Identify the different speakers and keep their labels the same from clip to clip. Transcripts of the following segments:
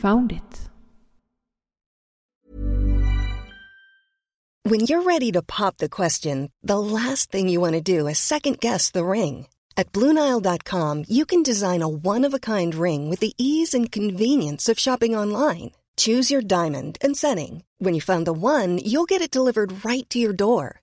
Speaker 1: Found it.
Speaker 2: When you're ready to pop the question, the last thing you want to do is second guess the ring. At Bluenile.com, you can design a one of a kind ring with the ease and convenience of shopping online. Choose your diamond and setting. When you find the one, you'll get it delivered right to your door.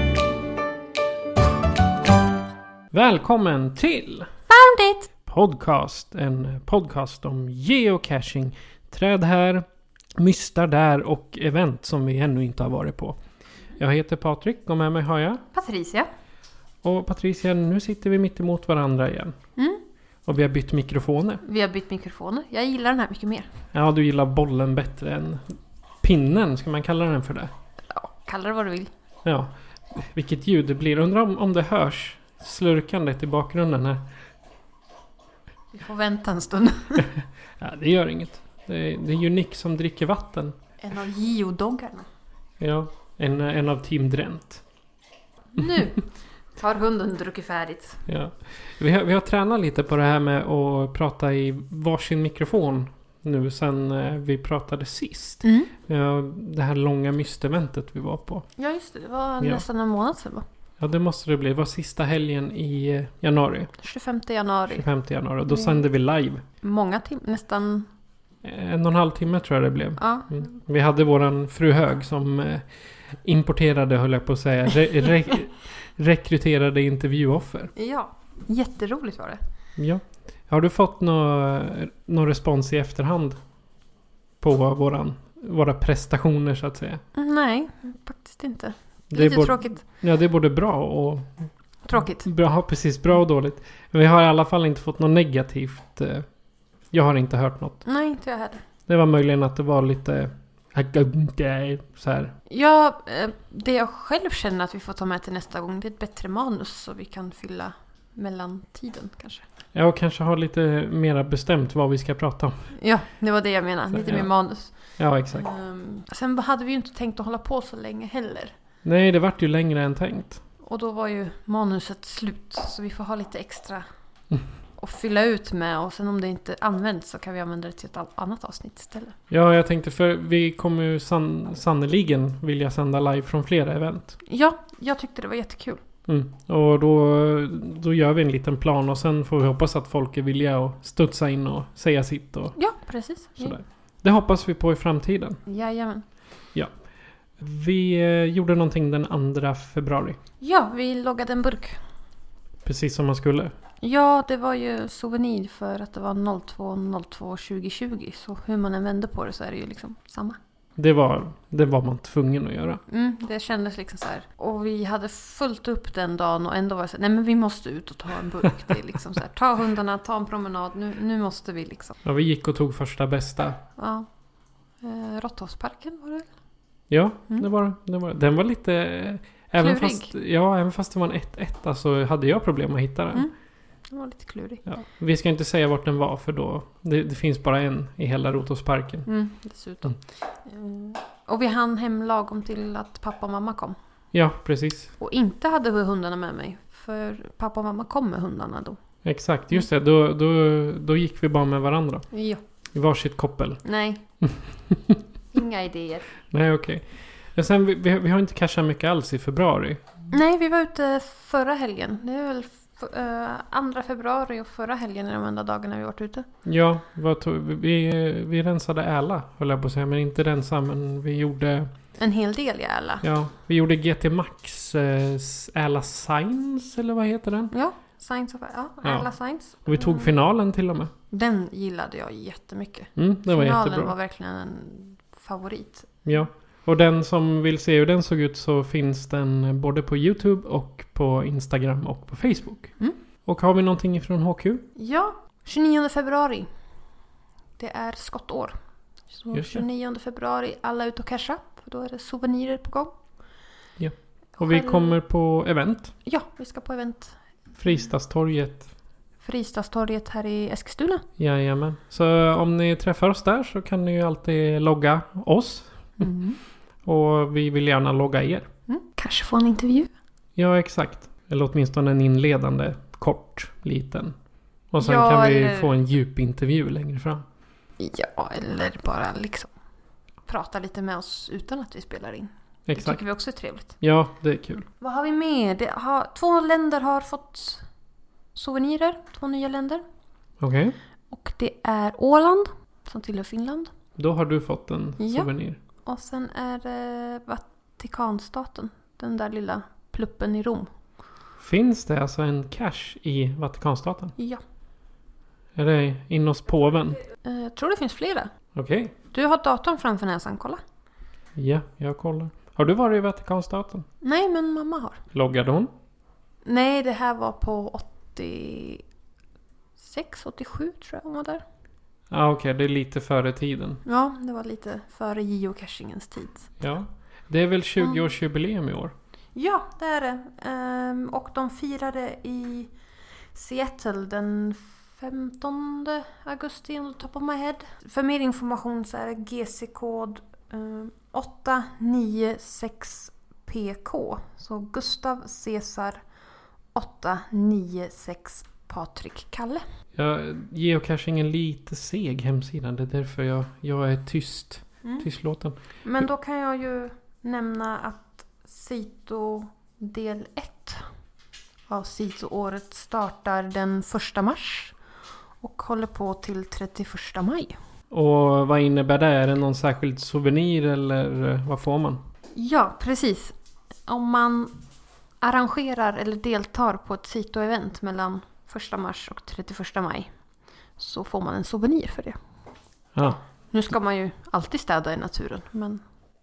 Speaker 3: Välkommen till
Speaker 4: Found it!
Speaker 3: Podcast. En podcast om geocaching. Träd här, mystar där och event som vi ännu inte har varit på. Jag heter Patrik och med mig har jag...
Speaker 4: Patricia.
Speaker 3: Och Patricia, nu sitter vi mitt emot varandra igen.
Speaker 4: Mm.
Speaker 3: Och vi har bytt mikrofoner.
Speaker 4: Vi har bytt mikrofoner. Jag gillar den här mycket mer.
Speaker 3: Ja, du gillar bollen bättre än pinnen. Ska man kalla den för det?
Speaker 4: Ja, kalla det vad du vill.
Speaker 3: Ja. Vilket ljud det blir. Undrar om, om det hörs slurkandet i bakgrunden här.
Speaker 4: Vi får vänta en stund.
Speaker 3: Ja, det gör inget. Det är, det är ju Nick som dricker vatten.
Speaker 4: En av geodoggarna.
Speaker 3: Ja, en, en av Team Drent.
Speaker 4: Nu har hunden druckit färdigt.
Speaker 3: Ja. Vi, har, vi har tränat lite på det här med att prata i varsin mikrofon nu sen eh, vi pratade sist.
Speaker 4: Mm.
Speaker 3: Ja, det här långa mysteventet vi var på.
Speaker 4: Ja, just det. Det var
Speaker 3: Ja.
Speaker 4: nästan en månad sedan va?
Speaker 3: Ja, det måste det bli. Det var sista helgen i eh, januari.
Speaker 4: 25 januari.
Speaker 3: 25 januari. Och Då sände vi live. Eh,
Speaker 4: Många timmar, nästan.
Speaker 3: En och en halv timme tror jag det blev.
Speaker 4: Ja.
Speaker 3: Mm. Vi hade våran fru Hög som eh, importerade, höll jag på att säga, re- re- rekryterade intervjuoffer.
Speaker 4: ja. Jätteroligt var det.
Speaker 3: Ja. Har du fått nå- någon respons i efterhand? På våran, våra prestationer så att säga.
Speaker 4: Nej, faktiskt inte. Det är
Speaker 3: är
Speaker 4: lite
Speaker 3: både,
Speaker 4: tråkigt.
Speaker 3: Ja, det är både bra och...
Speaker 4: Tråkigt.
Speaker 3: Bra, ja, precis, bra och dåligt. Men vi har i alla fall inte fått något negativt. eh, Jag har inte hört något.
Speaker 4: Nej, inte jag heller.
Speaker 3: Det var möjligen att det var lite... Så här.
Speaker 4: Ja, eh, det jag själv känner att vi får ta med till nästa gång det är ett bättre manus så vi kan fylla mellantiden kanske.
Speaker 3: Jag kanske har lite mera bestämt vad vi ska prata om.
Speaker 4: Ja, det var det jag menade.
Speaker 3: Så,
Speaker 4: Lite
Speaker 3: ja.
Speaker 4: mer manus.
Speaker 3: Ja, exakt.
Speaker 4: Ehm, sen hade vi ju inte tänkt att hålla på så länge heller.
Speaker 3: Nej, det vart ju längre än tänkt.
Speaker 4: Och då var ju manuset slut så vi får ha lite extra att fylla ut med och sen om det inte används så kan vi använda det till ett all- annat avsnitt istället.
Speaker 3: Ja, jag tänkte för vi kommer ju san, sannoliken vilja sända live från flera event.
Speaker 4: Ja, jag tyckte det var jättekul.
Speaker 3: Mm. Och då, då gör vi en liten plan och sen får vi hoppas att folk är villiga att studsa in och säga sitt och
Speaker 4: Ja, precis.
Speaker 3: sådär. Det hoppas vi på i framtiden.
Speaker 4: Jajamän.
Speaker 3: Vi eh, gjorde någonting den 2 februari.
Speaker 4: Ja, vi loggade en burk.
Speaker 3: Precis som man skulle.
Speaker 4: Ja, det var ju souvenir för att det var 02 02 2020. Så hur man än vänder på det så är det ju liksom samma.
Speaker 3: Det var, det var man tvungen att göra.
Speaker 4: Mm, det kändes liksom så här. Och vi hade fullt upp den dagen och ändå var det så här, nej men vi måste ut och ta en burk. Det är liksom så här, ta hundarna, ta en promenad, nu, nu måste vi liksom.
Speaker 3: Ja, vi gick och tog första bästa.
Speaker 4: Ja. Eh, Råtthavsparken var det väl?
Speaker 3: Ja,
Speaker 4: Mm.
Speaker 3: det, var, det var Den var lite... eh, Även
Speaker 4: Klurig.
Speaker 3: fast, ja, även fast det var en 1-1 alltså, hade jag problem att hitta den.
Speaker 4: Mm. Den var lite klurig.
Speaker 3: Ja. Vi ska inte säga vart den var för då... Det, det finns bara en i hela Rotosparken.
Speaker 4: Mm, dessutom. Eh, och vi hann hem lagom till att pappa och mamma kom.
Speaker 3: Ja, precis.
Speaker 4: Och inte hade vi hundarna med mig. För pappa och mamma kom med hundarna då.
Speaker 3: Exakt, just det. Då, då, då gick vi bara med varandra.
Speaker 4: Ja.
Speaker 3: I varsitt koppel.
Speaker 4: Nej. Inga idéer.
Speaker 3: Nej, okej. Och Sen, vi, vi, vi har inte cashat mycket alls i februari.
Speaker 4: Nej, vi var ute förra helgen. Det är väl f- eh, andra februari och förra helgen är de enda dagarna vi varit ute.
Speaker 3: Ja, vad tog, vi, vi rensade Äla, höll jag på att säga. Men inte rensa, men vi gjorde...
Speaker 4: En hel del i alla.
Speaker 3: Ja, vi gjorde GT Max eh, Äla Science, eller vad heter den?
Speaker 4: Ja, Science of... Ja,
Speaker 3: Ja.
Speaker 4: alla Science. Mm.
Speaker 3: Och vi tog finalen till och med.
Speaker 4: Den gillade jag jättemycket.
Speaker 3: Mm, det var
Speaker 4: Finalen
Speaker 3: jättebra.
Speaker 4: var verkligen en favorit.
Speaker 3: Ja. Och den som vill se hur den såg ut så finns den både på YouTube och på Instagram och på Facebook.
Speaker 4: Mm.
Speaker 3: Och har vi någonting ifrån HQ?
Speaker 4: Ja, 29 februari. Det är skottår. Så
Speaker 3: Just det.
Speaker 4: 29 februari, alla ut och casha. För då är det souvenirer på gång.
Speaker 3: Och vi
Speaker 4: Själv-
Speaker 3: kommer på event.
Speaker 4: Ja, vi ska på event.
Speaker 3: Fristadstorget.
Speaker 4: Fristadstorget här i Eskilstuna.
Speaker 3: Jajamän. Så om ni träffar oss där så kan ni ju alltid logga oss. Mm. Och vi vill gärna logga er.
Speaker 4: Mm. Kanske få en intervju.
Speaker 3: Ja, exakt. Eller åtminstone en inledande, kort, liten. Och sen
Speaker 4: Ja,
Speaker 3: kan vi
Speaker 4: eller-
Speaker 3: få en djupintervju längre fram.
Speaker 4: Ja, eller bara liksom prata lite med oss utan att vi spelar in. Det
Speaker 3: Exakt.
Speaker 4: tycker vi också är trevligt.
Speaker 3: Ja, det är kul.
Speaker 4: Vad har vi med? Det har, två länder har fått souvenirer. Två nya länder.
Speaker 3: Okej.
Speaker 4: Och det är Åland, som tillhör Finland.
Speaker 3: Då har du fått en
Speaker 4: Ja.
Speaker 3: souvenir.
Speaker 4: Och sen är det Vatikanstaten. Den där lilla pluppen i Rom.
Speaker 3: Finns det alltså en cash i Vatikanstaten?
Speaker 4: Ja.
Speaker 3: Är det in hos påven?
Speaker 4: Eh, Jag tror det finns flera.
Speaker 3: Okej.
Speaker 4: Du har datorn framför näsan, kolla.
Speaker 3: Ja, jag kollar. Har du varit i Vatikanstaten?
Speaker 4: Nej, men mamma har.
Speaker 3: Loggade hon?
Speaker 4: Nej, det här var på 86, 87 tror jag hon var där.
Speaker 3: Ja, okej. Det är lite före tiden.
Speaker 4: Ja, det var lite före geocachingens tid.
Speaker 3: Ja. Det är väl 20-årsjubileum i år?
Speaker 4: Ja, det är det. Ehm, och de firade i Seattle den 15 augusti, on the top of my head. För mer information så är det GC-kod ehm, 896PK. Så Gustav Cesar 896 Patrik Kalle.
Speaker 3: Ja, geocaching är lite seg hemsidan. Det är därför jag, jag är tyst. Tystlåten.
Speaker 4: Men då kan jag ju nämna att Sito del 1 av Sito-året startar den 1 mars och håller på till 31 maj.
Speaker 3: Och vad innebär det? Är det någon särskild souvenir eller eh, vad får man?
Speaker 4: Ja, precis. Om man arrangerar eller deltar på ett Sito-event mellan 1 mars och 31 maj så får man en souvenir för det.
Speaker 3: Ja.
Speaker 4: Nu ska man ju alltid städa i naturen, men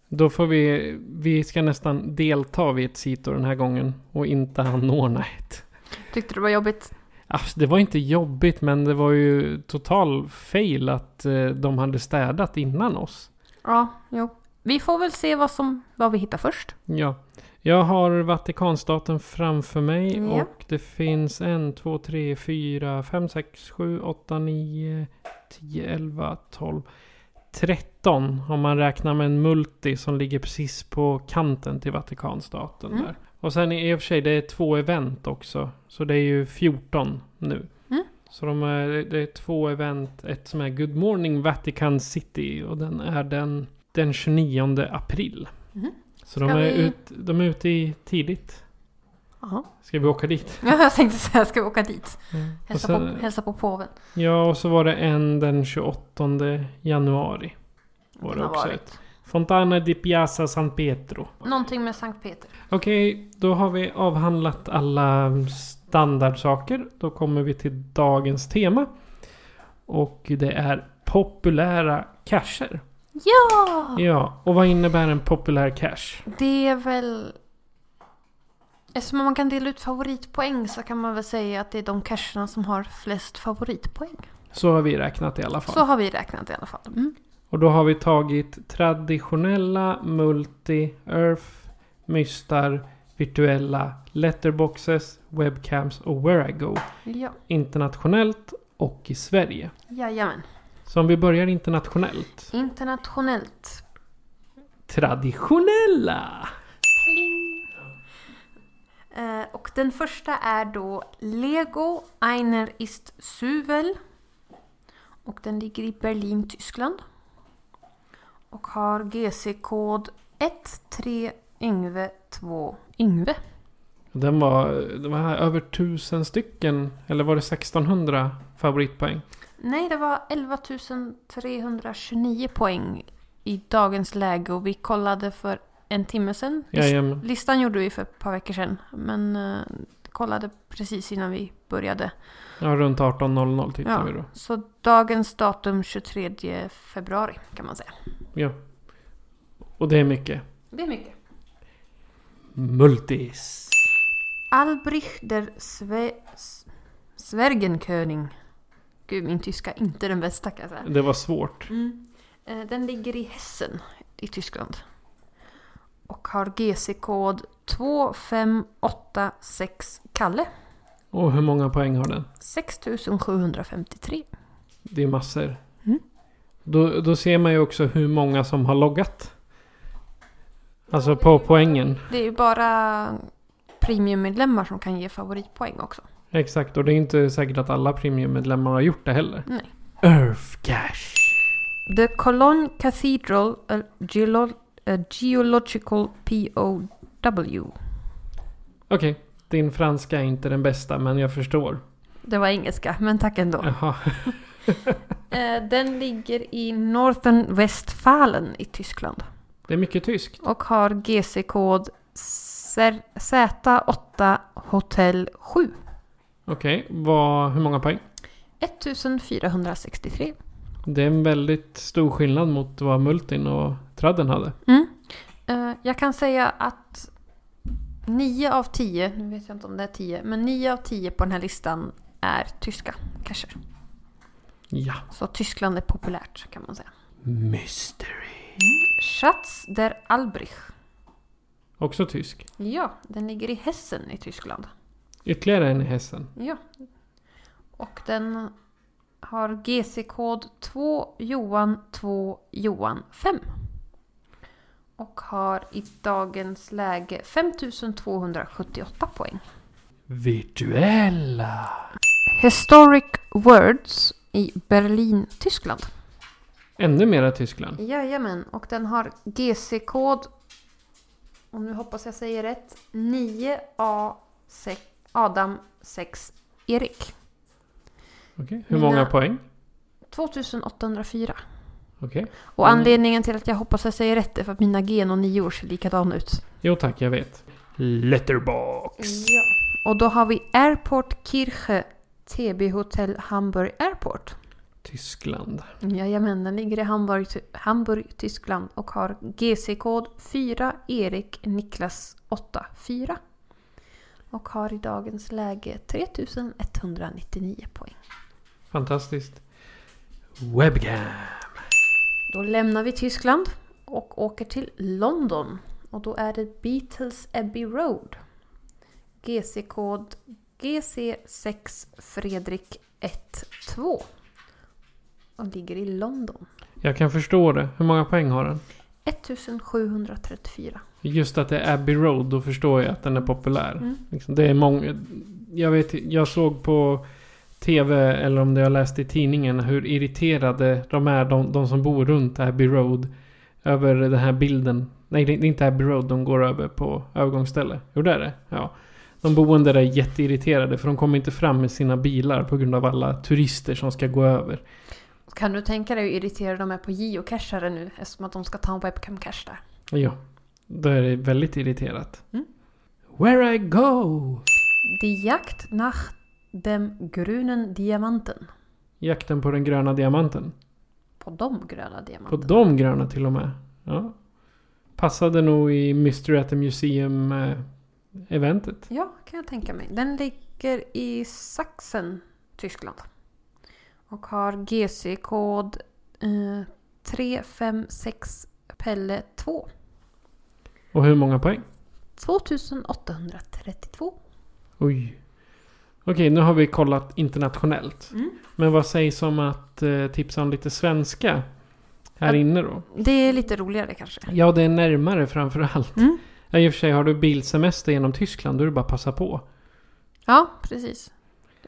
Speaker 3: Då får vi, vi ska nästan delta vid ett sito den här gången och inte anordna ett.
Speaker 4: tyckte det var jobbigt?
Speaker 3: Alltså, det var inte jobbigt men det var ju total fail att eh, de hade städat innan oss.
Speaker 4: Ja, jo. Vi får väl se vad, som, vad vi hittar först.
Speaker 3: Ja. Jag har Vatikanstaten framför mig
Speaker 4: Ja.
Speaker 3: och det finns en, två, tre, fyra, fem, sex, sju, åtta, nio, tio, elva, tolv, tretton om man räknar med en multi som ligger precis på kanten till Vatikanstaten
Speaker 4: Mm.
Speaker 3: där. Och sen i och för sig, det är två event också. Så det är ju 14 nu.
Speaker 4: Mm.
Speaker 3: Så de är, det är två event. Ett som är Good Morning Vatican City och den är den, den 29 april.
Speaker 4: Mhm.
Speaker 3: Så de
Speaker 4: Ska
Speaker 3: är,
Speaker 4: vi-
Speaker 3: ut, de är ute i tidigt.
Speaker 4: Jaha.
Speaker 3: Ska vi åka dit?
Speaker 4: Ja, jag tänkte säga, ska vi åka dit?
Speaker 3: Och
Speaker 4: Mm. Hälsa,
Speaker 3: sen,
Speaker 4: på, hälsa på påven.
Speaker 3: ja, och så var det en den 28 januari. Var
Speaker 4: Den
Speaker 3: det
Speaker 4: har
Speaker 3: också
Speaker 4: varit.
Speaker 3: ett. Fontana di Piazza San Pietro.
Speaker 4: Någonting med Sankt Peter.
Speaker 3: Okej, då har vi avhandlat alla standardsaker. Då kommer vi till dagens tema. Och det är populära cacher.
Speaker 4: Ja!
Speaker 3: Ja, och vad innebär en populär cache?
Speaker 4: Det är väl... Eftersom man kan dela ut favoritpoäng så kan man väl säga att det är de casherna som har flest favoritpoäng.
Speaker 3: Så har vi räknat i alla fall.
Speaker 4: Så har vi räknat i alla fall. Mm.
Speaker 3: Och då har vi tagit traditionella, multi, earth, mystar, virtuella, letterboxes, webcams och where I go.
Speaker 4: Ja.
Speaker 3: Internationellt och i Sverige.
Speaker 4: Jajamän.
Speaker 3: Så om vi börjar internationellt.
Speaker 4: Internationellt.
Speaker 3: Traditionella!
Speaker 4: Pling. Eh, och den första är då Lego Einer ist Suvel. Och den ligger i Berlin, Tyskland. Och har GC-kod 13 Yngve 2 Yngve.
Speaker 3: Den var, det var över tusen stycken, eller var det 1600 favoritpoäng?
Speaker 4: Nej, det var 11 329 poäng i dagens läge och vi kollade för en timme sedan. List-
Speaker 3: Jajamän.
Speaker 4: Listan gjorde vi för ett par veckor sedan, men eh, kollade precis innan vi började.
Speaker 3: Ja, runt 18.00 tittar
Speaker 4: Ja,
Speaker 3: vi då.
Speaker 4: så dagens datum 23 februari kan man säga.
Speaker 3: Ja. Och det är mycket.
Speaker 4: Det är mycket.
Speaker 3: Multis.
Speaker 4: Albrecht der Sve S- Svergenkönig Gud, min tyska är inte den bästa kan jag säga.
Speaker 3: Det var svårt.
Speaker 4: Mm. Eh, Den ligger i Hessen i Tyskland. Och har GC-kod 2586 Kalle.
Speaker 3: Och hur många poäng har den?
Speaker 4: 6753.
Speaker 3: Det är massor.
Speaker 4: Mm.
Speaker 3: Då, då ser man ju också hur många som har loggat. Alltså på poängen.
Speaker 4: Det är ju bara premiummedlemmar som kan ge favoritpoäng också.
Speaker 3: Exakt, och det är inte säkert att alla premiummedlemmar har gjort det heller.
Speaker 4: Nej.
Speaker 3: Earth Cash.
Speaker 4: The Cologne Cathedral a geolo- a Geological POW.
Speaker 3: Okej, din franska är inte den bästa men jag förstår.
Speaker 4: Det var engelska, men tack ändå.
Speaker 3: Jaha.
Speaker 4: Eh, Den ligger i Northern Westfalen i Tyskland.
Speaker 3: Det är mycket tyskt.
Speaker 4: Och har GC-kod Ser- Z8 Hotel 7.
Speaker 3: Okej, vad- hur många poäng?
Speaker 4: 1463.
Speaker 3: Det är en väldigt stor skillnad mot vad Multin och Tradden hade.
Speaker 4: Mm. Eh, Jag kan säga att 9 av 10, nu vet jag inte om det är 10, men 9 av 10 på den här listan är tyska kanske.
Speaker 3: Ja.
Speaker 4: Så Tyskland är populärt kan man säga.
Speaker 3: Mystery.
Speaker 4: Schatz der Albrecht.
Speaker 3: Också tysk.
Speaker 4: Ja, den ligger i Hessen i Tyskland.
Speaker 3: Ytterligare en i Hessen.
Speaker 4: Ja. Och den har GC-kod 2 Johan 2 Johan 5. Och har i dagens läge 5278 poäng.
Speaker 3: Virtuella.
Speaker 4: Historic Words i Berlin, Tyskland.
Speaker 3: Ännu mera Tyskland.
Speaker 4: Jajamän, och den har GC-kod, om nu hoppas jag säger rätt, 9A6 Adam 6 Erik.
Speaker 3: Okej, Hur
Speaker 4: Mina-
Speaker 3: många poäng?
Speaker 4: 2804.
Speaker 3: Okej.
Speaker 4: Och
Speaker 3: Mm.
Speaker 4: anledningen till att jag hoppas jag säger rätt är för att mina gen och nior ser likadana ut.
Speaker 3: Jo tack, jag vet. Letterbox.
Speaker 4: Ja. Och då har vi Airport Kirche TB Hotel Hamburg Airport.
Speaker 3: Tyskland.
Speaker 4: Mm, Jajamän, den ligger i Hamburg, Hamburg Tyskland och har GC-kod 4 Erik Niklas 84. Och har i dagens läge 3199 poäng.
Speaker 3: Fantastiskt. Webcam.
Speaker 4: Då lämnar vi Tyskland och åker till London. Och då är det Beatles Abbey Road. GC-kod GC6 Fredrik 12. Och ligger i London.
Speaker 3: Jag kan förstå det. Hur många poäng har den?
Speaker 4: 1734.
Speaker 3: Just att det är Abbey Road, då förstår jag att den är populär.
Speaker 4: Mm.
Speaker 3: Liksom, det är många... Jag, vet, jag såg på TV, eller om det jag läste i tidningen, hur irriterade de är, de, de som bor runt Abbey Road, över den här bilden. Nej, det är inte Abbey Road de går över på övergångsställe. Jo, det är det. Ja. De boende där är jätteirriterade för de kommer inte fram med sina bilar på grund av alla turister som ska gå över.
Speaker 4: Kan du tänka dig hur irriterade de är på geocachare nu eftersom att de ska ta en webcam-cache där?
Speaker 3: Ja, då är det väldigt irriterat.
Speaker 4: Mm.
Speaker 3: Where I go!
Speaker 4: Die Jagd nach dem grünen Diamanten.
Speaker 3: Jakten på den gröna diamanten.
Speaker 4: På de gröna
Speaker 3: På
Speaker 4: diamanterna.
Speaker 3: de gröna till och med. Ja. Passade nog i Mystery at the eh, Museum-eventet.
Speaker 4: Ja, kan jag tänka mig. Den ligger i Sachsen, Tyskland. Och har GC-kod eh, 356 Pelle 2.
Speaker 3: Och hur många poäng?
Speaker 4: 2832.
Speaker 3: Oj. Okej, nu har vi kollat internationellt.
Speaker 4: Mm.
Speaker 3: Men vad sägs om att eh, tipsa om lite svenska här
Speaker 4: Ja.
Speaker 3: inne då?
Speaker 4: Det är lite roligare kanske.
Speaker 3: Ja, det är närmare framför allt.
Speaker 4: Mm.
Speaker 3: Ja, I och för sig, har du bilsemester genom Tyskland, då är det bara att passa på.
Speaker 4: Ja, precis.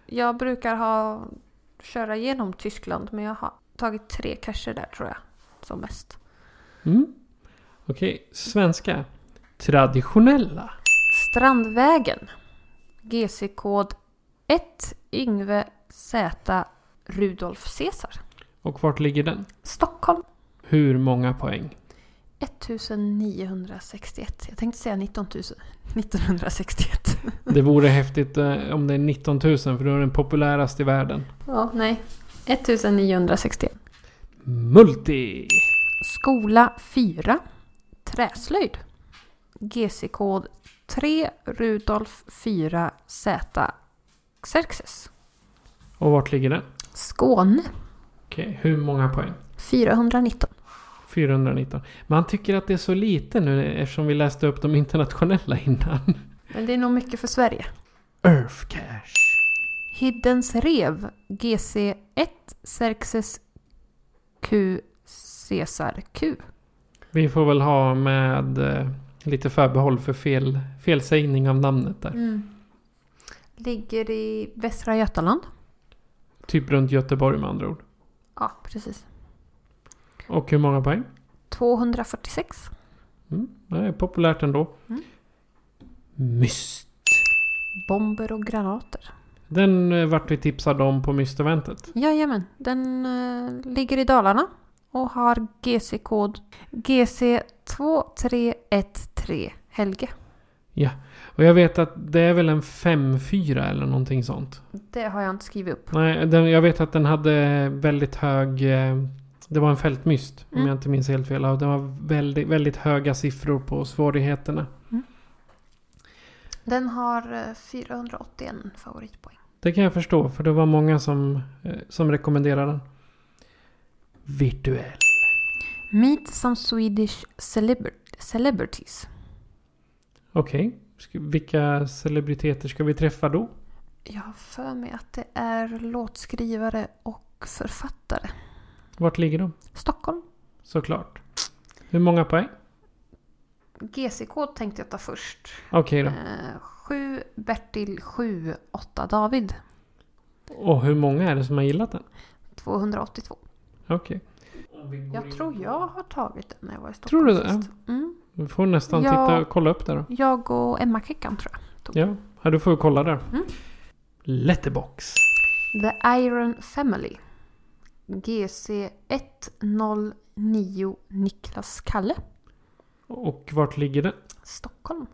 Speaker 4: Jag brukar ha, köra genom Tyskland men jag har tagit tre cacher där tror jag. Som mest.
Speaker 3: Mm. Okej, svenska. Traditionella.
Speaker 4: Strandvägen. GC-kod 1 Yngve Z Rudolf Caesar.
Speaker 3: Och vart ligger den?
Speaker 4: Stockholm
Speaker 3: Hur många poäng?
Speaker 4: 1961. Jag tänkte säga 19 000. 1961.
Speaker 3: Det vore häftigt eh, om det är 19 000 för då är den populärast i världen.
Speaker 4: Ja, nej. 1961.
Speaker 3: Multi!
Speaker 4: Skola 4. Träslöjd. GC-kod 3 Rudolf 4 Z Xerxes.
Speaker 3: Och vart ligger den?
Speaker 4: Skåne.
Speaker 3: Okej, hur många poäng?
Speaker 4: 419.
Speaker 3: 419. Man tycker att det är så lite nu eftersom vi läste upp de internationella innan.
Speaker 4: Men det är nog mycket för Sverige.
Speaker 3: Earth Cash.
Speaker 4: Hiddens rev GC1 Xerxes Q Caesar Q.
Speaker 3: Vi får väl ha med eh, lite förbehåll för fel, felsägning av namnet där.
Speaker 4: Ligger i Västra Götaland.
Speaker 3: Typ runt Göteborg med andra ord.
Speaker 4: Ja, precis.
Speaker 3: Och hur många poäng?
Speaker 4: 246.
Speaker 3: Mm, det är populärt ändå.
Speaker 4: Mm.
Speaker 3: Myst.
Speaker 4: Bomber och granater.
Speaker 3: Den eh, vart vi tipsade om på mysteventet.
Speaker 4: Jajamän, den eh, ligger i Dalarna och har GC-kod GC2313 Helge.
Speaker 3: Och jag vet att det är väl en 5-4 eller någonting sånt.
Speaker 4: Det har jag inte skrivit upp.
Speaker 3: Nej, den, jag vet att den hade väldigt hög... eh, Det var en fältmyst om
Speaker 4: Mm.
Speaker 3: jag inte minns helt fel. Och Den var väldigt, väldigt höga siffror på svårigheterna.
Speaker 4: Den har eh, 481 favoritpoäng.
Speaker 3: Det kan jag förstå för det var många som, eh, som rekommenderade den. Virtuell.
Speaker 4: Meet some Swedish celebr- celebrities.
Speaker 3: Okej. Ska- Vilka celebriteter ska vi träffa då?
Speaker 4: Jag har för mig att det är låtskrivare och författare.
Speaker 3: Vart ligger de?
Speaker 4: Stockholm.
Speaker 3: Såklart. Hur många poäng?
Speaker 4: GC-kod tänkte jag ta först.
Speaker 3: Okej då.
Speaker 4: Eh, 7 Bertil 7 8 David.
Speaker 3: Och hur många är det som har gillat den?
Speaker 4: 282.
Speaker 3: Okej.
Speaker 4: Jag tror jag har tagit den när jag var i
Speaker 3: Mm. Tror
Speaker 4: Stockholm
Speaker 3: du det?
Speaker 4: sist. Mm.
Speaker 3: Vi får nästan
Speaker 4: Ja.
Speaker 3: titta och kolla upp där då.
Speaker 4: Jag och Emma Keckan tror jag.
Speaker 3: Ja, ja, du får kolla där.
Speaker 4: Mm.
Speaker 3: Letterbox.
Speaker 4: The Iron Family. GC109 Niklas Kalle.
Speaker 3: Och vart ligger den?
Speaker 4: Stockholm.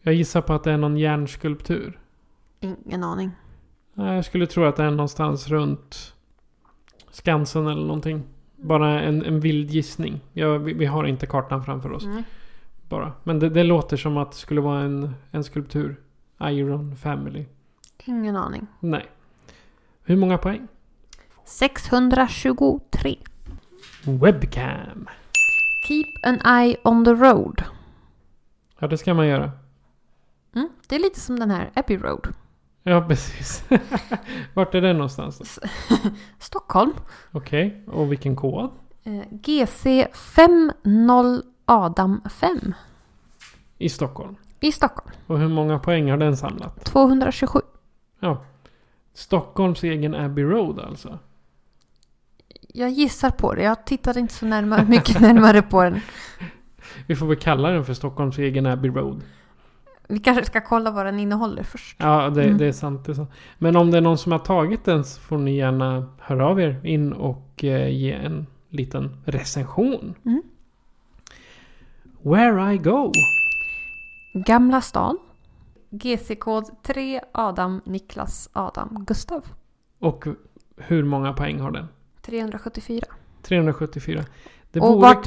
Speaker 3: Jag gissar på att det är någon järnskulptur.
Speaker 4: Ingen aning.
Speaker 3: Nej, Jag skulle tro att det är någonstans runt Skansen eller någonting. Bara en, en vild gissning. Ja, vi, vi har inte kartan framför oss
Speaker 4: Mm.
Speaker 3: bara. Men det, det låter som att det skulle vara en, en skulptur. Iron Family.
Speaker 4: Ingen aning.
Speaker 3: Nej. Hur många poäng?
Speaker 4: 623.
Speaker 3: Webcam.
Speaker 4: Keep an eye on the road.
Speaker 3: Ja, det ska man göra.
Speaker 4: Mm. Det är lite som den här Abbey Road.
Speaker 3: Ja, precis. Vart är den någonstans? då?
Speaker 4: Stockholm.
Speaker 3: Okej, och vilken kod?
Speaker 4: Eh, GC50 Adam 5.
Speaker 3: I Stockholm.
Speaker 4: I Stockholm.
Speaker 3: Och hur många poäng har den samlat?
Speaker 4: 227.
Speaker 3: Ja. Stockholms egen Abbey Road alltså.
Speaker 4: Jag gissar på det. Jag tittade inte så närmare, mycket närmare på den.
Speaker 3: Vi får väl kalla den för Stockholms egen Abbey Road.
Speaker 4: Vi kanske ska kolla vad den innehåller först.
Speaker 3: Ja, det,
Speaker 4: Mm.
Speaker 3: det, är sant, det är sant. Men om det är någon som har tagit den så får ni gärna höra av er in och eh, ge en liten recension.
Speaker 4: Mm.
Speaker 3: Where I go.
Speaker 4: Gamla stan. GC-kod 3 Adam Niklas Adam Gustav.
Speaker 3: Och hur många poäng har den?
Speaker 4: 374.
Speaker 3: 374. Det
Speaker 4: Och
Speaker 3: vore...
Speaker 4: vart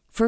Speaker 5: For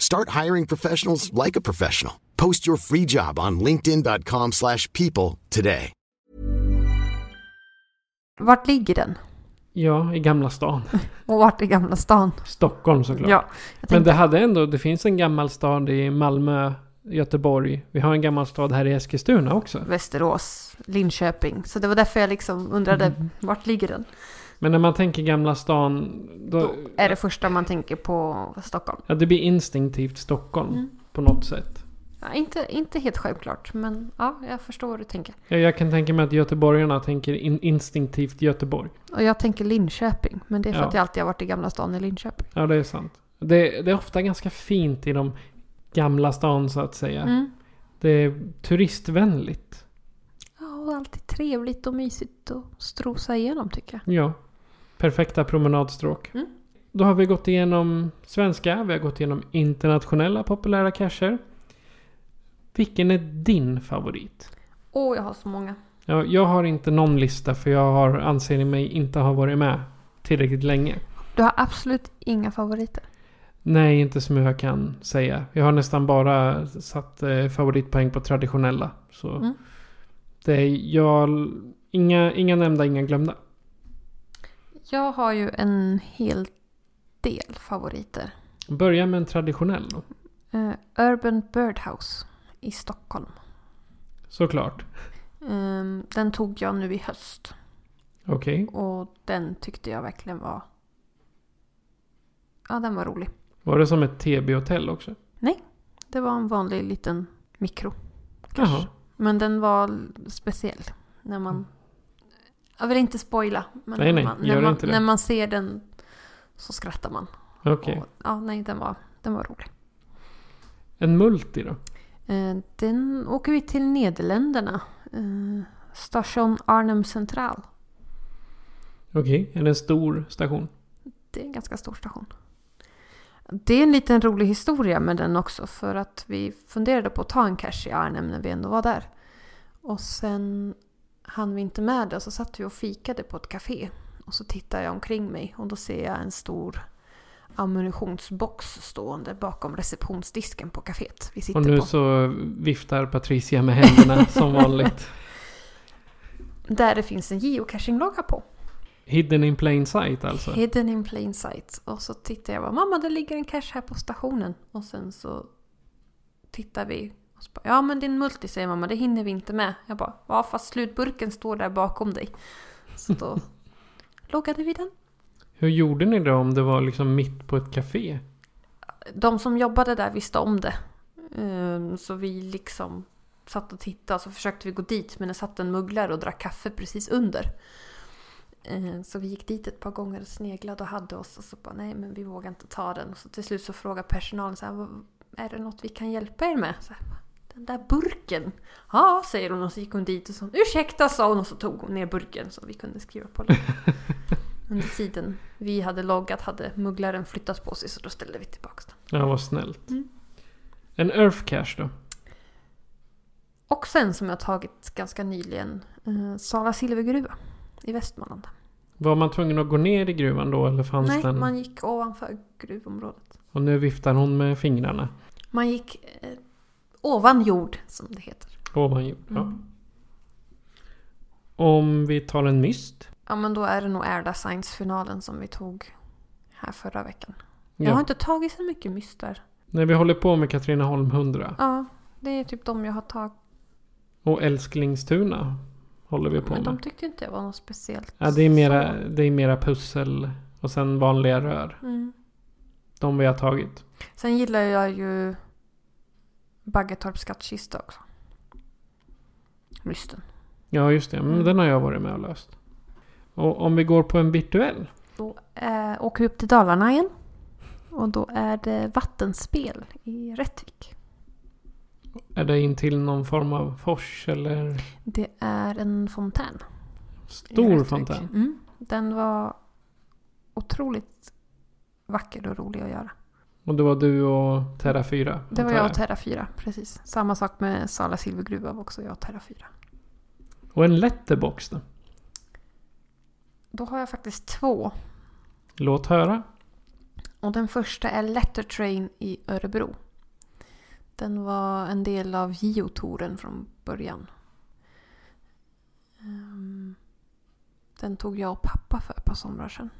Speaker 6: Start hiring professionals like a professional. Post your free job on linkedin.com/people slash people today.
Speaker 4: Vart ligger den?
Speaker 3: Ja, i Gamla stan.
Speaker 4: Och vart i Gamla stan?
Speaker 3: Stockholm såklart.
Speaker 4: Ja, jag
Speaker 3: Men
Speaker 4: tänkte,
Speaker 3: det hade ändå, det finns en gammal stad i Malmö, Göteborg. Vi har en gammal stad här i Eskilstuna också.
Speaker 4: Västerås, Linköping. Så det var därför jag liksom undrade,
Speaker 3: Mm.
Speaker 4: vart ligger den?
Speaker 3: Men när man tänker Gamla stan, då,
Speaker 4: Då är det första man tänker på Stockholm.
Speaker 3: ja, det blir instinktivt Stockholm
Speaker 4: Mm.
Speaker 3: på något sätt.
Speaker 4: Ja, inte, inte helt självklart, men ja, jag förstår hur du tänker.
Speaker 3: Jag, jag kan tänka mig att göteborgarna tänker in, instinktivt Göteborg.
Speaker 4: Och jag tänker Linköping, men det är för
Speaker 3: Ja.
Speaker 4: att jag alltid har varit i Gamla stan i Linköping.
Speaker 3: Ja, det är sant. Det, det är ofta ganska fint i de Gamla stan så att säga.
Speaker 4: Mm.
Speaker 3: Det är turistvänligt.
Speaker 4: Ja, och alltid trevligt och mysigt att strosa igenom tycker jag.
Speaker 3: Ja. Perfekta promenadstråk.
Speaker 4: Mm.
Speaker 3: Då har vi gått igenom svenska, vi har gått igenom internationella populära cacher. Vilken är din favorit?
Speaker 4: Åh, jag har så många.
Speaker 3: Ja, jag har inte någon lista för jag har, anser mig inte ha varit med tillräckligt länge.
Speaker 4: Du har absolut inga favoriter.
Speaker 3: Nej, inte som jag kan säga. Jag har nästan bara satt eh, favoritpoäng på traditionella. Så
Speaker 4: Mm.
Speaker 3: det är jag, inga, inga nämnda, inga glömda.
Speaker 4: Jag har ju en hel del favoriter.
Speaker 3: Börja med en traditionell då.
Speaker 4: Eh, Urban Birdhouse i Stockholm.
Speaker 3: Såklart.
Speaker 4: Eh, den tog jag nu i höst
Speaker 3: Okej.
Speaker 4: och den tyckte jag verkligen var... Ja, den var rolig.
Speaker 3: Var det som ett TB-hotell också?
Speaker 4: Det var en vanlig liten mikro.
Speaker 3: Jaha.
Speaker 4: Men den var l- speciell. När man... Jag vill inte spoila. Men
Speaker 3: Mm. Nej,
Speaker 4: när
Speaker 3: nej,
Speaker 4: man,
Speaker 3: gör
Speaker 4: när, man,
Speaker 3: inte det.
Speaker 4: när man ser den så skrattar man.
Speaker 3: Okej.
Speaker 4: Och, ja, nej, den var, den var rolig.
Speaker 3: En multi då?
Speaker 4: Eh, den åker vi till Nederländerna. Eh, station Arnhem Central.
Speaker 3: Okej. Är det en stor station?
Speaker 4: Det är en ganska stor station. Det är en liten rolig historia med den också för att vi funderade på att ta en cache i Arnhem när vi ändå var där. Och sen hann vi inte med det och så satt vi och fikade på ett café. Och så tittar jag omkring mig och då ser jag en stor ammunitionsbox stående bakom receptionsdisken på caféet. Vi sitter
Speaker 3: Och nu
Speaker 4: på.
Speaker 3: så viftar Patricia med händerna som vanligt.
Speaker 4: Där det finns en geocachinglogga på.
Speaker 3: Hidden in plain sight alltså?
Speaker 4: Hidden in plain sight. Och så tittar jag bara, mamma det ligger en cache här på stationen. Och sen så tittar vi. Och så bara, ja men det är en multi säger mamma, det hinner vi inte med. Jag bara, ja fast slutburken står där bakom dig. Så då loggade vi den.
Speaker 3: Hur gjorde ni det om det var liksom mitt på ett café?
Speaker 4: De som jobbade där visste om det. Ehm, Så vi liksom satt och tittade och så försökte vi gå dit men det satt en mugglare och drack kaffe precis under. Ehm, Så vi gick dit ett par gånger och sneglade och hade oss och så bara nej men vi vågar inte ta den. Så till slut så frågade personalen så här, "Vad- är det något vi kan hjälpa er med? Så här, den där burken. Ja, säger hon och så gick hon dit och så ursäkta sa hon och så tog hon ner burken så vi kunde skriva på den. Under tiden vi hade loggat hade mugglaren flyttat på sig så då ställde vi tillbaka den.
Speaker 3: Ja, vad snällt.
Speaker 4: Mm.
Speaker 3: En earth cache då?
Speaker 4: Och sen som jag tagit ganska nyligen, eh, Sala silvergruva i Västmanland.
Speaker 3: Var man tvungen att gå ner i gruvan då eller fanns
Speaker 4: Nej,
Speaker 3: den?
Speaker 4: man gick ovanför gruvområdet.
Speaker 3: Och nu viftar hon med fingrarna.
Speaker 4: Man gick eh, ovan jord, som det heter.
Speaker 3: Ovan jord. Ja.
Speaker 4: Mm.
Speaker 3: Om vi tar en myst?
Speaker 4: Ja, men då är det nog Airda Science-finalen som vi tog här förra veckan. Jag har
Speaker 3: Ja.
Speaker 4: inte tagit så mycket myster.
Speaker 3: När vi håller på med Katrineholm 100.
Speaker 4: Ja, det är typ de jag har tagit.
Speaker 3: Och Älsklingstuna håller vi på
Speaker 4: Men
Speaker 3: med.
Speaker 4: de tyckte inte jag var något speciellt.
Speaker 3: Ja, det är, mera,
Speaker 4: så.
Speaker 3: det är mera pussel och sen vanliga rör.
Speaker 4: Mm.
Speaker 3: De vi har tagit.
Speaker 4: Sen gillar jag ju Baggetorps skattkista också. Mysten.
Speaker 3: Ja, just det. Men
Speaker 4: Mm.
Speaker 3: den har jag varit med och löst. Och om vi går på en virtuell.
Speaker 4: Då eh, åker vi upp till Dalarna igen. Och då är det vattenspel i Rättvik.
Speaker 3: Är det in till någon form av fors eller
Speaker 4: Det är en fontän. i
Speaker 3: stor
Speaker 4: Rättvik.
Speaker 3: fontän?
Speaker 4: Mm. Den var otroligt vacker och rolig att göra.
Speaker 3: Och det var du och Terra 4?
Speaker 4: Det var
Speaker 3: antar
Speaker 4: jag och Terra 4, precis. Samma sak med Sala silvergruva var också jag och Terra 4.
Speaker 3: Och en letterbox då?
Speaker 4: Då har jag faktiskt två.
Speaker 3: Låt höra.
Speaker 4: Och den första är Letter Train i Örebro. Den var en del av JO-touren från början. Ehm, Den tog jag och pappa för ett par somrar sedan.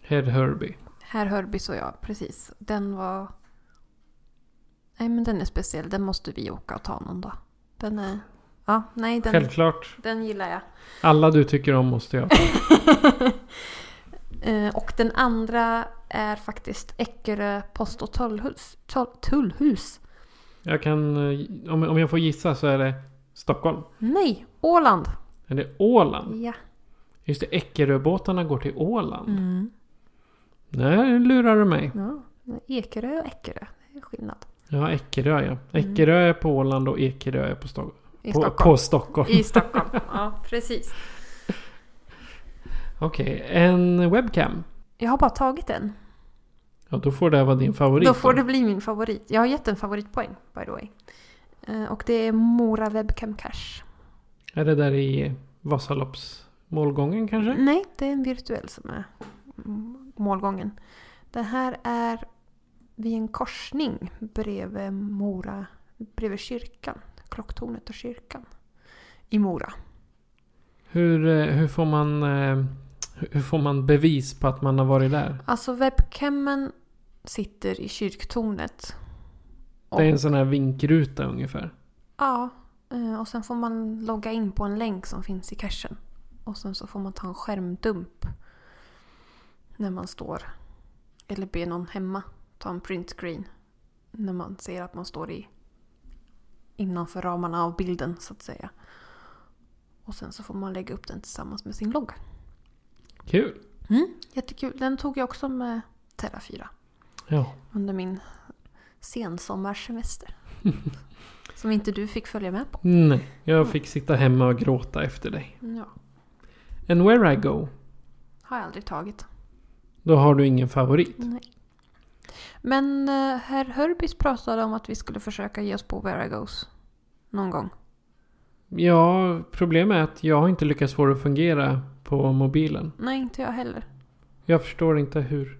Speaker 3: Head Herbie.
Speaker 4: Herr Hörbys och jag, precis. Den var... Nej men den är speciell, den måste vi åka och ta någon dag. Den är... Ja, nej den,
Speaker 3: Självklart.
Speaker 4: den gillar jag.
Speaker 3: Alla du tycker om måste jag.
Speaker 4: Eh, och den andra är faktiskt Eckerö post och tullhus. tull- tullhus.
Speaker 3: Jag kan... eh, Om, om jag får gissa så är det Stockholm.
Speaker 4: Nej, Åland!
Speaker 3: Är det Åland?
Speaker 4: Ja.
Speaker 3: Just det, Eckeröbåtarna går till Åland.
Speaker 4: Mm.
Speaker 3: Nej, nu lurar du mig.
Speaker 4: ja. Ekerö och Eckerö, det är skillnad.
Speaker 3: Ja, Eckerö ja. Eckerö är på Åland och Ekerö är på, Stock-
Speaker 4: Mm. I
Speaker 3: på,
Speaker 4: Stockholm.
Speaker 3: på Stockholm.
Speaker 4: I Stockholm, ja precis.
Speaker 3: Okej, en webcam.
Speaker 4: Jag har bara tagit en.
Speaker 3: Ja, då får det vara din favorit.
Speaker 4: Då får det bli min favorit. Jag har gett en favoritpoäng, by the way. Eh, Och det är Mora Webcam Cash.
Speaker 3: Är det där i Vasaloppsmålgången kanske?
Speaker 4: Nej, det är en virtuell som är mm, målgången. Det här är vid en korsning bredvid Mora, bredvid kyrkan. Klocktornet och kyrkan. I Mora.
Speaker 3: Hur, eh, hur, får man, eh, hur får man bevis på att man har varit där?
Speaker 4: Alltså webcamen sitter i kyrktornet.
Speaker 3: Det är en sån här vinkruta ungefär.
Speaker 4: Ja, eh, och sen får man logga in på en länk som finns i cachen. Och sen så får man ta en skärmdump när man står. Eller be någon hemma ta en printscreen när man ser att man står i innanför ramarna av bilden så att säga. Och sen så får man lägga upp den tillsammans med sin logga.
Speaker 3: Kul!
Speaker 4: Jättekul. Den tog jag också med Terra 4
Speaker 3: Ja.
Speaker 4: under min sensommarsemester. som inte du fick följa med på.
Speaker 3: Nej, jag fick sitta hemma och gråta efter dig.
Speaker 4: Ja,
Speaker 3: And where I go,
Speaker 4: har jag aldrig tagit.
Speaker 3: då har du ingen favorit.
Speaker 4: Men eh, herr Hörbis pratade om att vi skulle försöka ge oss på Where I Goes. Någon gång.
Speaker 3: Ja, problemet är att jag har inte lyckats få det att fungera på mobilen.
Speaker 4: Nej, inte jag heller.
Speaker 3: Jag förstår inte hur.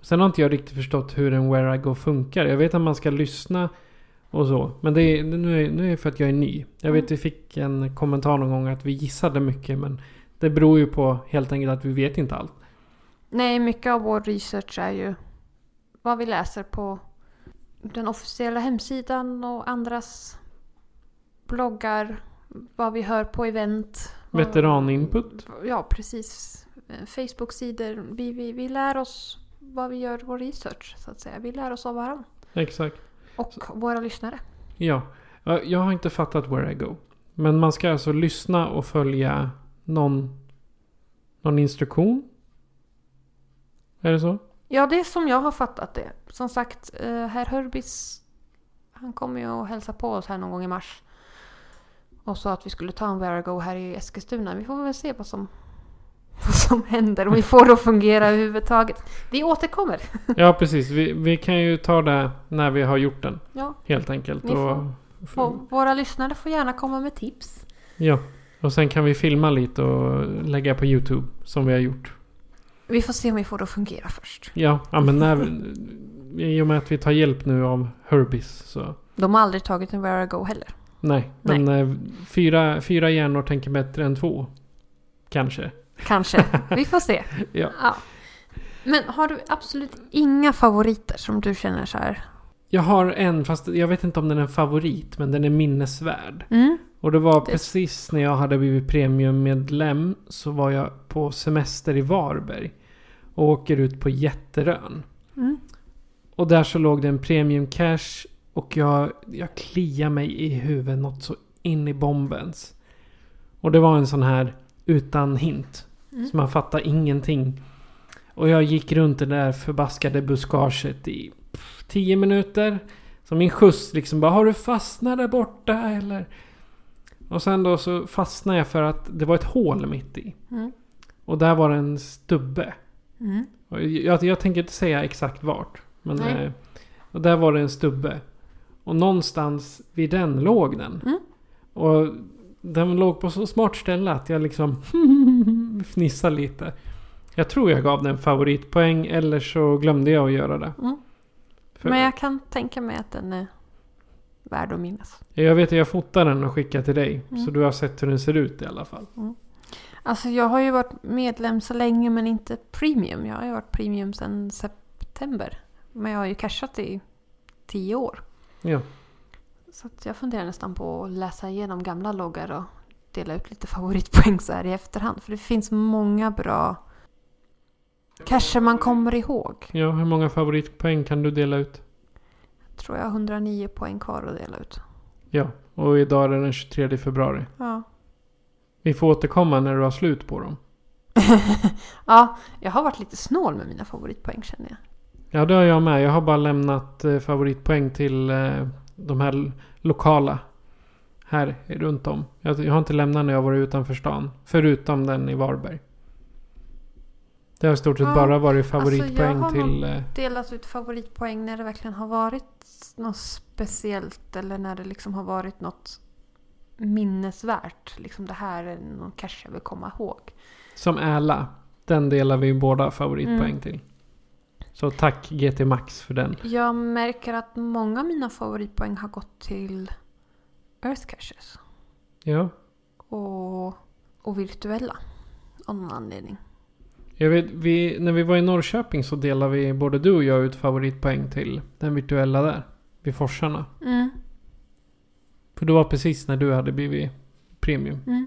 Speaker 3: Sen har inte jag riktigt förstått hur en Where I Go funkar. Jag vet att man ska lyssna och så. Men det är, nu, är, nu är det för att jag är ny. Jag vet att vi fick en kommentar någon gång att vi gissade mycket men det beror ju på helt enkelt att vi vet inte allt.
Speaker 4: Nej, mycket av vår research är ju vad vi läser på den officiella hemsidan och andras bloggar. Vad vi hör på event. vad-
Speaker 3: Veteraninput?
Speaker 4: Ja, precis. Eh, Facebook-sidor. Vi, vi, vi lär oss vad vi gör vår research, så att säga. Vi lär oss av varandra.
Speaker 3: Exakt.
Speaker 4: Och våra lyssnare.
Speaker 3: Ja. Ja, Jag har inte fattat Where I Go. Men man ska alltså lyssna och följa någon, någon instruktion? Är det så?
Speaker 4: Ja, det är som jag har fattat det. Som sagt, eh, herr Hörbis, han kommer ju och hälsa på oss här någon gång i mars. Och sa att vi skulle ta en Where I Go här i Eskilstuna. Vi får väl se vad som, vad som händer, om vi får det att fungera överhuvudtaget. Vi återkommer!
Speaker 3: Ja, precis. Vi, vi kan ju ta det när vi har gjort den.
Speaker 4: Ja,
Speaker 3: Helt enkelt.
Speaker 4: Ni
Speaker 3: Och,
Speaker 4: och våra lyssnare får gärna komma med tips.
Speaker 3: ja. och sen kan vi filma lite och lägga på YouTube som vi har gjort.
Speaker 4: Vi får se om vi får det att fungera först.
Speaker 3: Ja, ja men när, i och med att vi tar hjälp nu av Herbis så...
Speaker 4: De har aldrig tagit en Where I Go heller.
Speaker 3: Nej, men eh, fyra, fyra hjärnor tänker bättre än två. Kanske.
Speaker 4: Kanske. Vi får se.
Speaker 3: Ja.
Speaker 4: Ja. Men har du absolut inga favoriter som du känner så här?
Speaker 3: Jag har en, fast jag vet inte om den är en favorit, men den är minnesvärd.
Speaker 4: Mm.
Speaker 3: Och det var
Speaker 4: Det-
Speaker 3: precis när jag hade blivit premiummedlem så var jag på semester i Varberg. Och åker ut på Jätterön.
Speaker 4: Mm.
Speaker 3: Och där så låg det en premium cash och jag, jag kliar mig i huvudet något så in i bombens. Och det var en sån här utan hint.
Speaker 4: Mm.
Speaker 3: Så man fattar ingenting. Och jag gick runt det där förbaskade buskaget i pff, tio minuter. Så min skjuts liksom bara Har du fastnat där borta eller? Och sen då så fastnade jag för att det var ett hål mitt i.
Speaker 4: Mm.
Speaker 3: Och där var det en stubbe.
Speaker 4: Mm.
Speaker 3: Och Jag, jag tänker inte säga exakt vart. Men
Speaker 4: Nej.
Speaker 3: eh, och där var det en stubbe. Och någonstans vid den låg den.
Speaker 4: Mm.
Speaker 3: Och Den låg på så smart ställe att jag liksom fnissade lite. Jag tror jag gav den favoritpoäng eller så glömde jag att göra det.
Speaker 4: Mm.
Speaker 3: För-
Speaker 4: Men jag kan tänka mig att den är värd att minnas.
Speaker 3: Jag vet att jag fotade den och skickade till dig. Så
Speaker 4: Mm.
Speaker 3: du har sett hur den ser ut i alla fall.
Speaker 4: Alltså jag har ju varit medlem så länge men inte premium. Jag har ju varit premium sedan september. Men jag har ju cashat i tio år.
Speaker 3: Ja.
Speaker 4: Så att jag funderar nästan på att läsa igenom gamla loggar och dela ut lite favoritpoäng så här i efterhand. För det finns många bra cacher man kommer ihåg.
Speaker 3: ja, hur många favoritpoäng kan du dela ut?
Speaker 4: Tror jag har 109 poäng kvar att dela ut.
Speaker 3: Ja, och idag är det den 23 februari.
Speaker 4: Ja.
Speaker 3: Vi får återkomma när du har slut på dem.
Speaker 4: ja, jag har varit lite snål med mina favoritpoäng känner jag.
Speaker 3: Ja, det har jag med. Jag har bara lämnat eh, favoritpoäng till eh, de här l- lokala. Här runt om. Jag, jag har inte lämnat när jag varit utanför stan. Förutom den i Varberg. Det har i stort sett
Speaker 4: Ja, alltså,
Speaker 3: bara varit
Speaker 4: jag
Speaker 3: favoritpoäng
Speaker 4: har
Speaker 3: till...
Speaker 4: nog-
Speaker 3: Eh,
Speaker 4: Delat ut favoritpoäng när det verkligen har varit något speciellt eller när det liksom har varit något minnesvärt. Liksom det här är någon cache jag vill komma ihåg.
Speaker 3: som Äla. Den delar vi ju båda favoritpoäng
Speaker 4: Mm.
Speaker 3: till. Så tack GT Max för den.
Speaker 4: Jag märker att många av mina favoritpoäng har gått till Earth Caches
Speaker 3: Ja.
Speaker 4: och, och virtuella av någon anledning.
Speaker 3: Jag vet, vi, när vi var i Norrköping så delade vi, både du och jag, ut favoritpoäng till den virtuella där. Vid forsarna.
Speaker 4: Mm,
Speaker 3: För det var precis när du hade blivit premium.
Speaker 4: mm.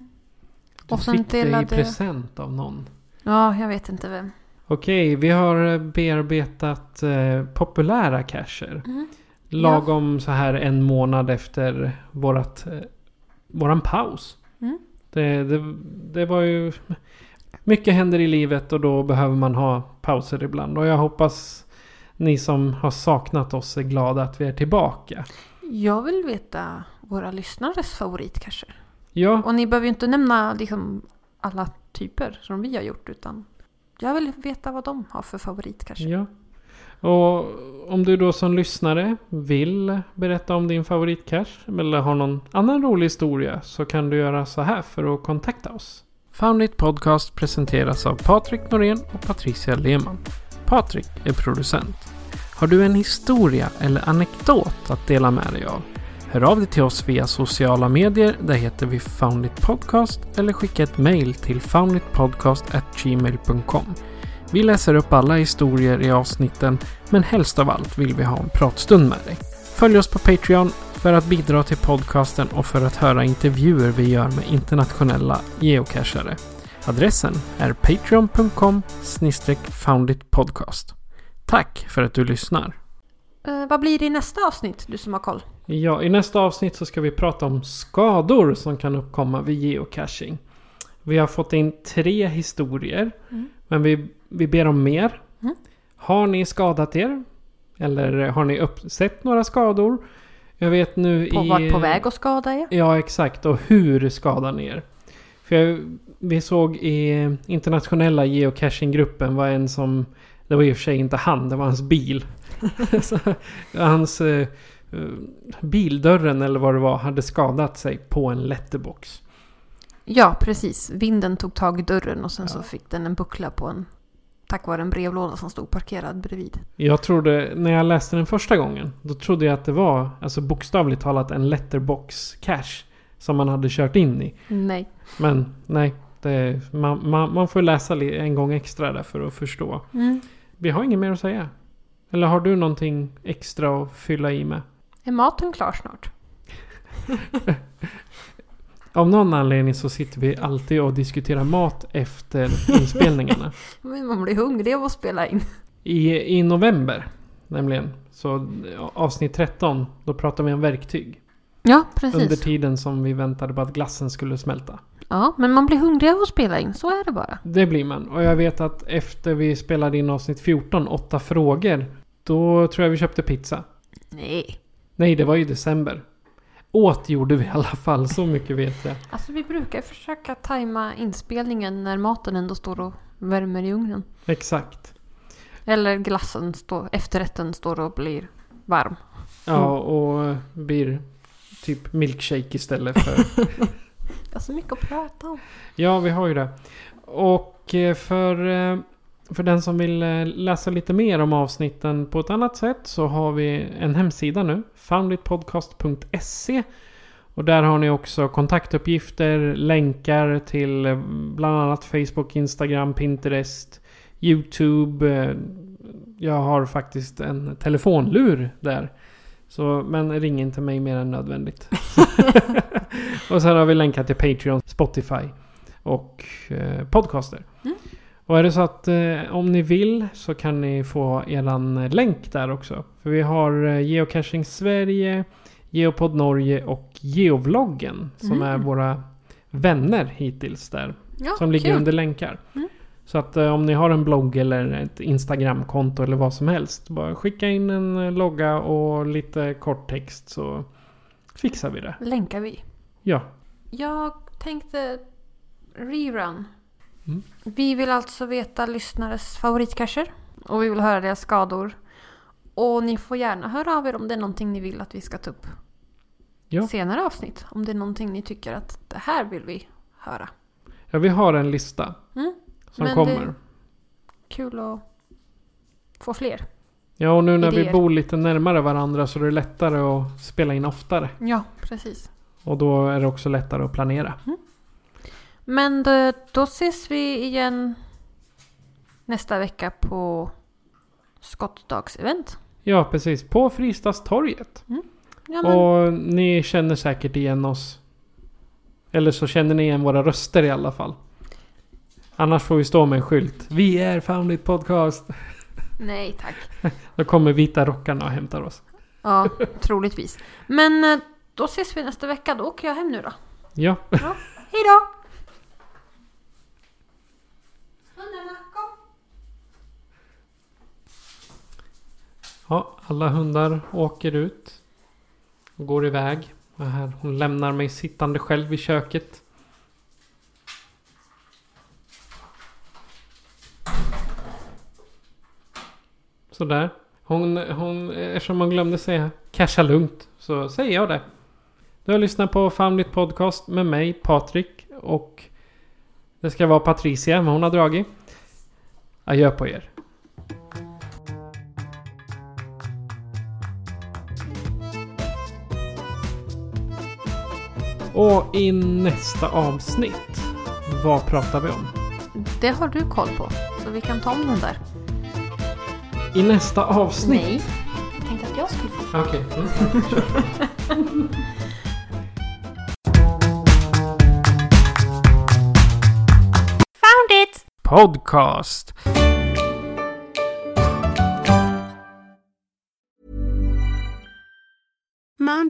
Speaker 3: Du
Speaker 4: Och sen
Speaker 3: fick det i
Speaker 4: delade-
Speaker 3: present av någon.
Speaker 4: Ja, jag vet inte vem.
Speaker 3: Okej, vi har eh, bearbetat eh, populära cacher.
Speaker 4: Mm.
Speaker 3: Lagom så här en månad efter vårat, eh, våran paus.
Speaker 4: Mm.
Speaker 3: Det, det, det var ju... Mycket händer i livet och då behöver man ha pauser ibland. Och jag hoppas ni som har saknat oss är glada att vi är tillbaka.
Speaker 4: Jag vill veta våra lyssnares favoritcacher.
Speaker 3: Ja,
Speaker 4: Och ni behöver ju inte nämna liksom alla typer som vi har gjort utan jag vill veta vad de har för favorit kanske.
Speaker 3: Ja. Och om du då som lyssnare vill berätta om din favoritcash eller har någon annan rolig historia så kan du göra så här för att kontakta oss. Foundit Podcast presenteras av Patrik Norén och Patricia Lehmann. Patrik är producent. Har du en historia eller anekdot att dela med dig av? Hör av dig till oss via sociala medier, där heter vi Foundit Podcast eller skicka ett mejl till founditpodcast@gmail.com. Vi läser upp alla historier i avsnitten, men helst av allt vill vi ha en pratstund med dig. Följ oss på Patreon för att bidra till podcasten och för att höra intervjuer vi gör med internationella geocachare. Adressen är patreon.com founditpodcast. Tack för att du lyssnar.
Speaker 4: Eh, vad blir det i nästa avsnitt, du som har koll?
Speaker 3: Ja, i nästa avsnitt så ska vi prata om skador som kan uppkomma vid geocaching. Vi har fått in tre historier,
Speaker 4: Mm.
Speaker 3: men vi, vi ber om mer.
Speaker 4: Mm.
Speaker 3: Har ni skadat er? Eller har ni upp, sett några skador? Jag vet nu
Speaker 4: På,
Speaker 3: i...
Speaker 4: Vart på väg att skada er?
Speaker 3: Ja, exakt. Och hur skadar ni er? För jag, vi såg i internationella geocaching-gruppen var en som... Det var i och för sig inte han, det var hans bil. Så, hans... Eh, eh, bildörren eller vad det var hade skadat sig på en letterbox.
Speaker 4: Ja, precis. Vinden tog tag i dörren och sen
Speaker 3: Ja.
Speaker 4: så fick den en buckla på en tack vare en brevlåda som stod parkerad bredvid.
Speaker 3: Jag trodde, när jag läste den första gången, då trodde jag att det var alltså bokstavligt talat en letterbox cache som man hade kört in i.
Speaker 4: Nej.
Speaker 3: Men nej, det, man, man, man får läsa li- en gång extra där för att förstå.
Speaker 4: Mm.
Speaker 3: Vi har inget mer att säga. Eller har du någonting extra att fylla i med?
Speaker 4: Är maten klar snart?
Speaker 3: Av någon anledning så sitter vi alltid och diskuterar mat efter inspelningarna.
Speaker 4: Men man blir hungrig av att spela in.
Speaker 3: I, I november, nämligen, så avsnitt 13, då pratar vi om verktyg.
Speaker 4: Ja,
Speaker 3: Under
Speaker 4: precis.
Speaker 3: tiden som vi väntade på att glassen skulle smälta.
Speaker 4: Ja, men man blir hungrig av att spela in. Så är det bara.
Speaker 3: Det blir man. Och jag vet att efter vi spelade in avsnitt 14, åtta frågor, då tror jag vi köpte pizza.
Speaker 4: Nej.
Speaker 3: Nej, det var ju i december. Åt gjorde vi i alla fall, så mycket vet jag.
Speaker 4: Alltså vi brukar försöka tajma inspelningen när maten ändå står och värmer i ugnen.
Speaker 3: Exakt.
Speaker 4: Eller glassen, står, efterrätten, står och blir varm.
Speaker 3: Ja, och blir typ milkshake istället för...
Speaker 4: har så Alltså, mycket att prata om.
Speaker 3: Ja, vi har ju det. Och eh, för, eh, för den som vill eh, läsa lite mer om avsnitten på ett annat sätt så har vi en hemsida nu. founditpodcast.se och där har ni också kontaktuppgifter, länkar till eh, bland annat Facebook, Instagram, Pinterest, YouTube. eh, Jag har faktiskt en telefonlur där. Så, men ring inte mig mer än nödvändigt. och sen har vi länkar till Patreon, Spotify och eh, podcaster. Och är det så att eh, om ni vill så kan ni få eran eh, länk där också. För vi har eh, Geocaching Sverige, Geopod Norge och Geovloggen som är våra vänner hittills där.
Speaker 4: Ja,
Speaker 3: Som ligger
Speaker 4: kul. Mm.
Speaker 3: under länkar. Så att eh, om ni har en blogg eller ett Instagramkonto eller vad som helst. Bara skicka in en eh, logga och lite kort text så fixar vi det.
Speaker 4: Länkar vi.
Speaker 3: Ja.
Speaker 4: Jag tänkte rerun.
Speaker 3: Mm.
Speaker 4: Vi vill alltså veta lyssnares favoritcacher. Och vi vill höra deras skador. Och ni får gärna höra av er om det är någonting ni vill att vi ska ta upp.
Speaker 3: Ja.
Speaker 4: Senare avsnitt. Om det är någonting ni tycker att det här vill vi höra.
Speaker 3: ja, vi har en lista
Speaker 4: Mm.
Speaker 3: som
Speaker 4: Men det-
Speaker 3: kommer.
Speaker 4: Kul att få fler.
Speaker 3: Ja, och nu när vi
Speaker 4: idéer.
Speaker 3: bor lite närmare varandra så är det lättare att spela in oftare.
Speaker 4: Ja, precis.
Speaker 3: Och då är det också lättare att planera.
Speaker 4: Mm. Men då, då ses vi igen nästa vecka på skottdagsevent.
Speaker 3: Ja, precis. På Fristadstorget.
Speaker 4: Ja, men,
Speaker 3: Och ni känner säkert igen oss. Eller så känner ni igen våra röster i alla fall. Annars får vi stå med en skylt. Vi är Foundit Podcast.
Speaker 4: Nej tack.
Speaker 3: Då kommer vita rockarna och hämtar oss.
Speaker 4: Ja, troligtvis. Men eh, då ses vi nästa vecka. Då åker jag hem nu då.
Speaker 3: Ja.
Speaker 4: Ja. Hej då! Hundarna, kom!
Speaker 3: Ja, alla hundar åker ut. Och går iväg. Och här, hon lämnar mig sittande själv i köket. Sådär. Hon, hon, eftersom hon glömde säga casha lugnt så säger jag det. Du har lyssnat på Family Podcast med mig, Patrik och det ska vara Patricia, men hon har dragit. Adjö på er. Och i nästa avsnitt, vad pratar vi om?
Speaker 4: Det har du koll på. Så vi kan ta om den där.
Speaker 3: I nästa avsnitt?
Speaker 4: Nej. Jag tänkte att jag skulle få.
Speaker 3: Okej. Mm.
Speaker 4: Found it!
Speaker 3: Podcast.
Speaker 7: Mom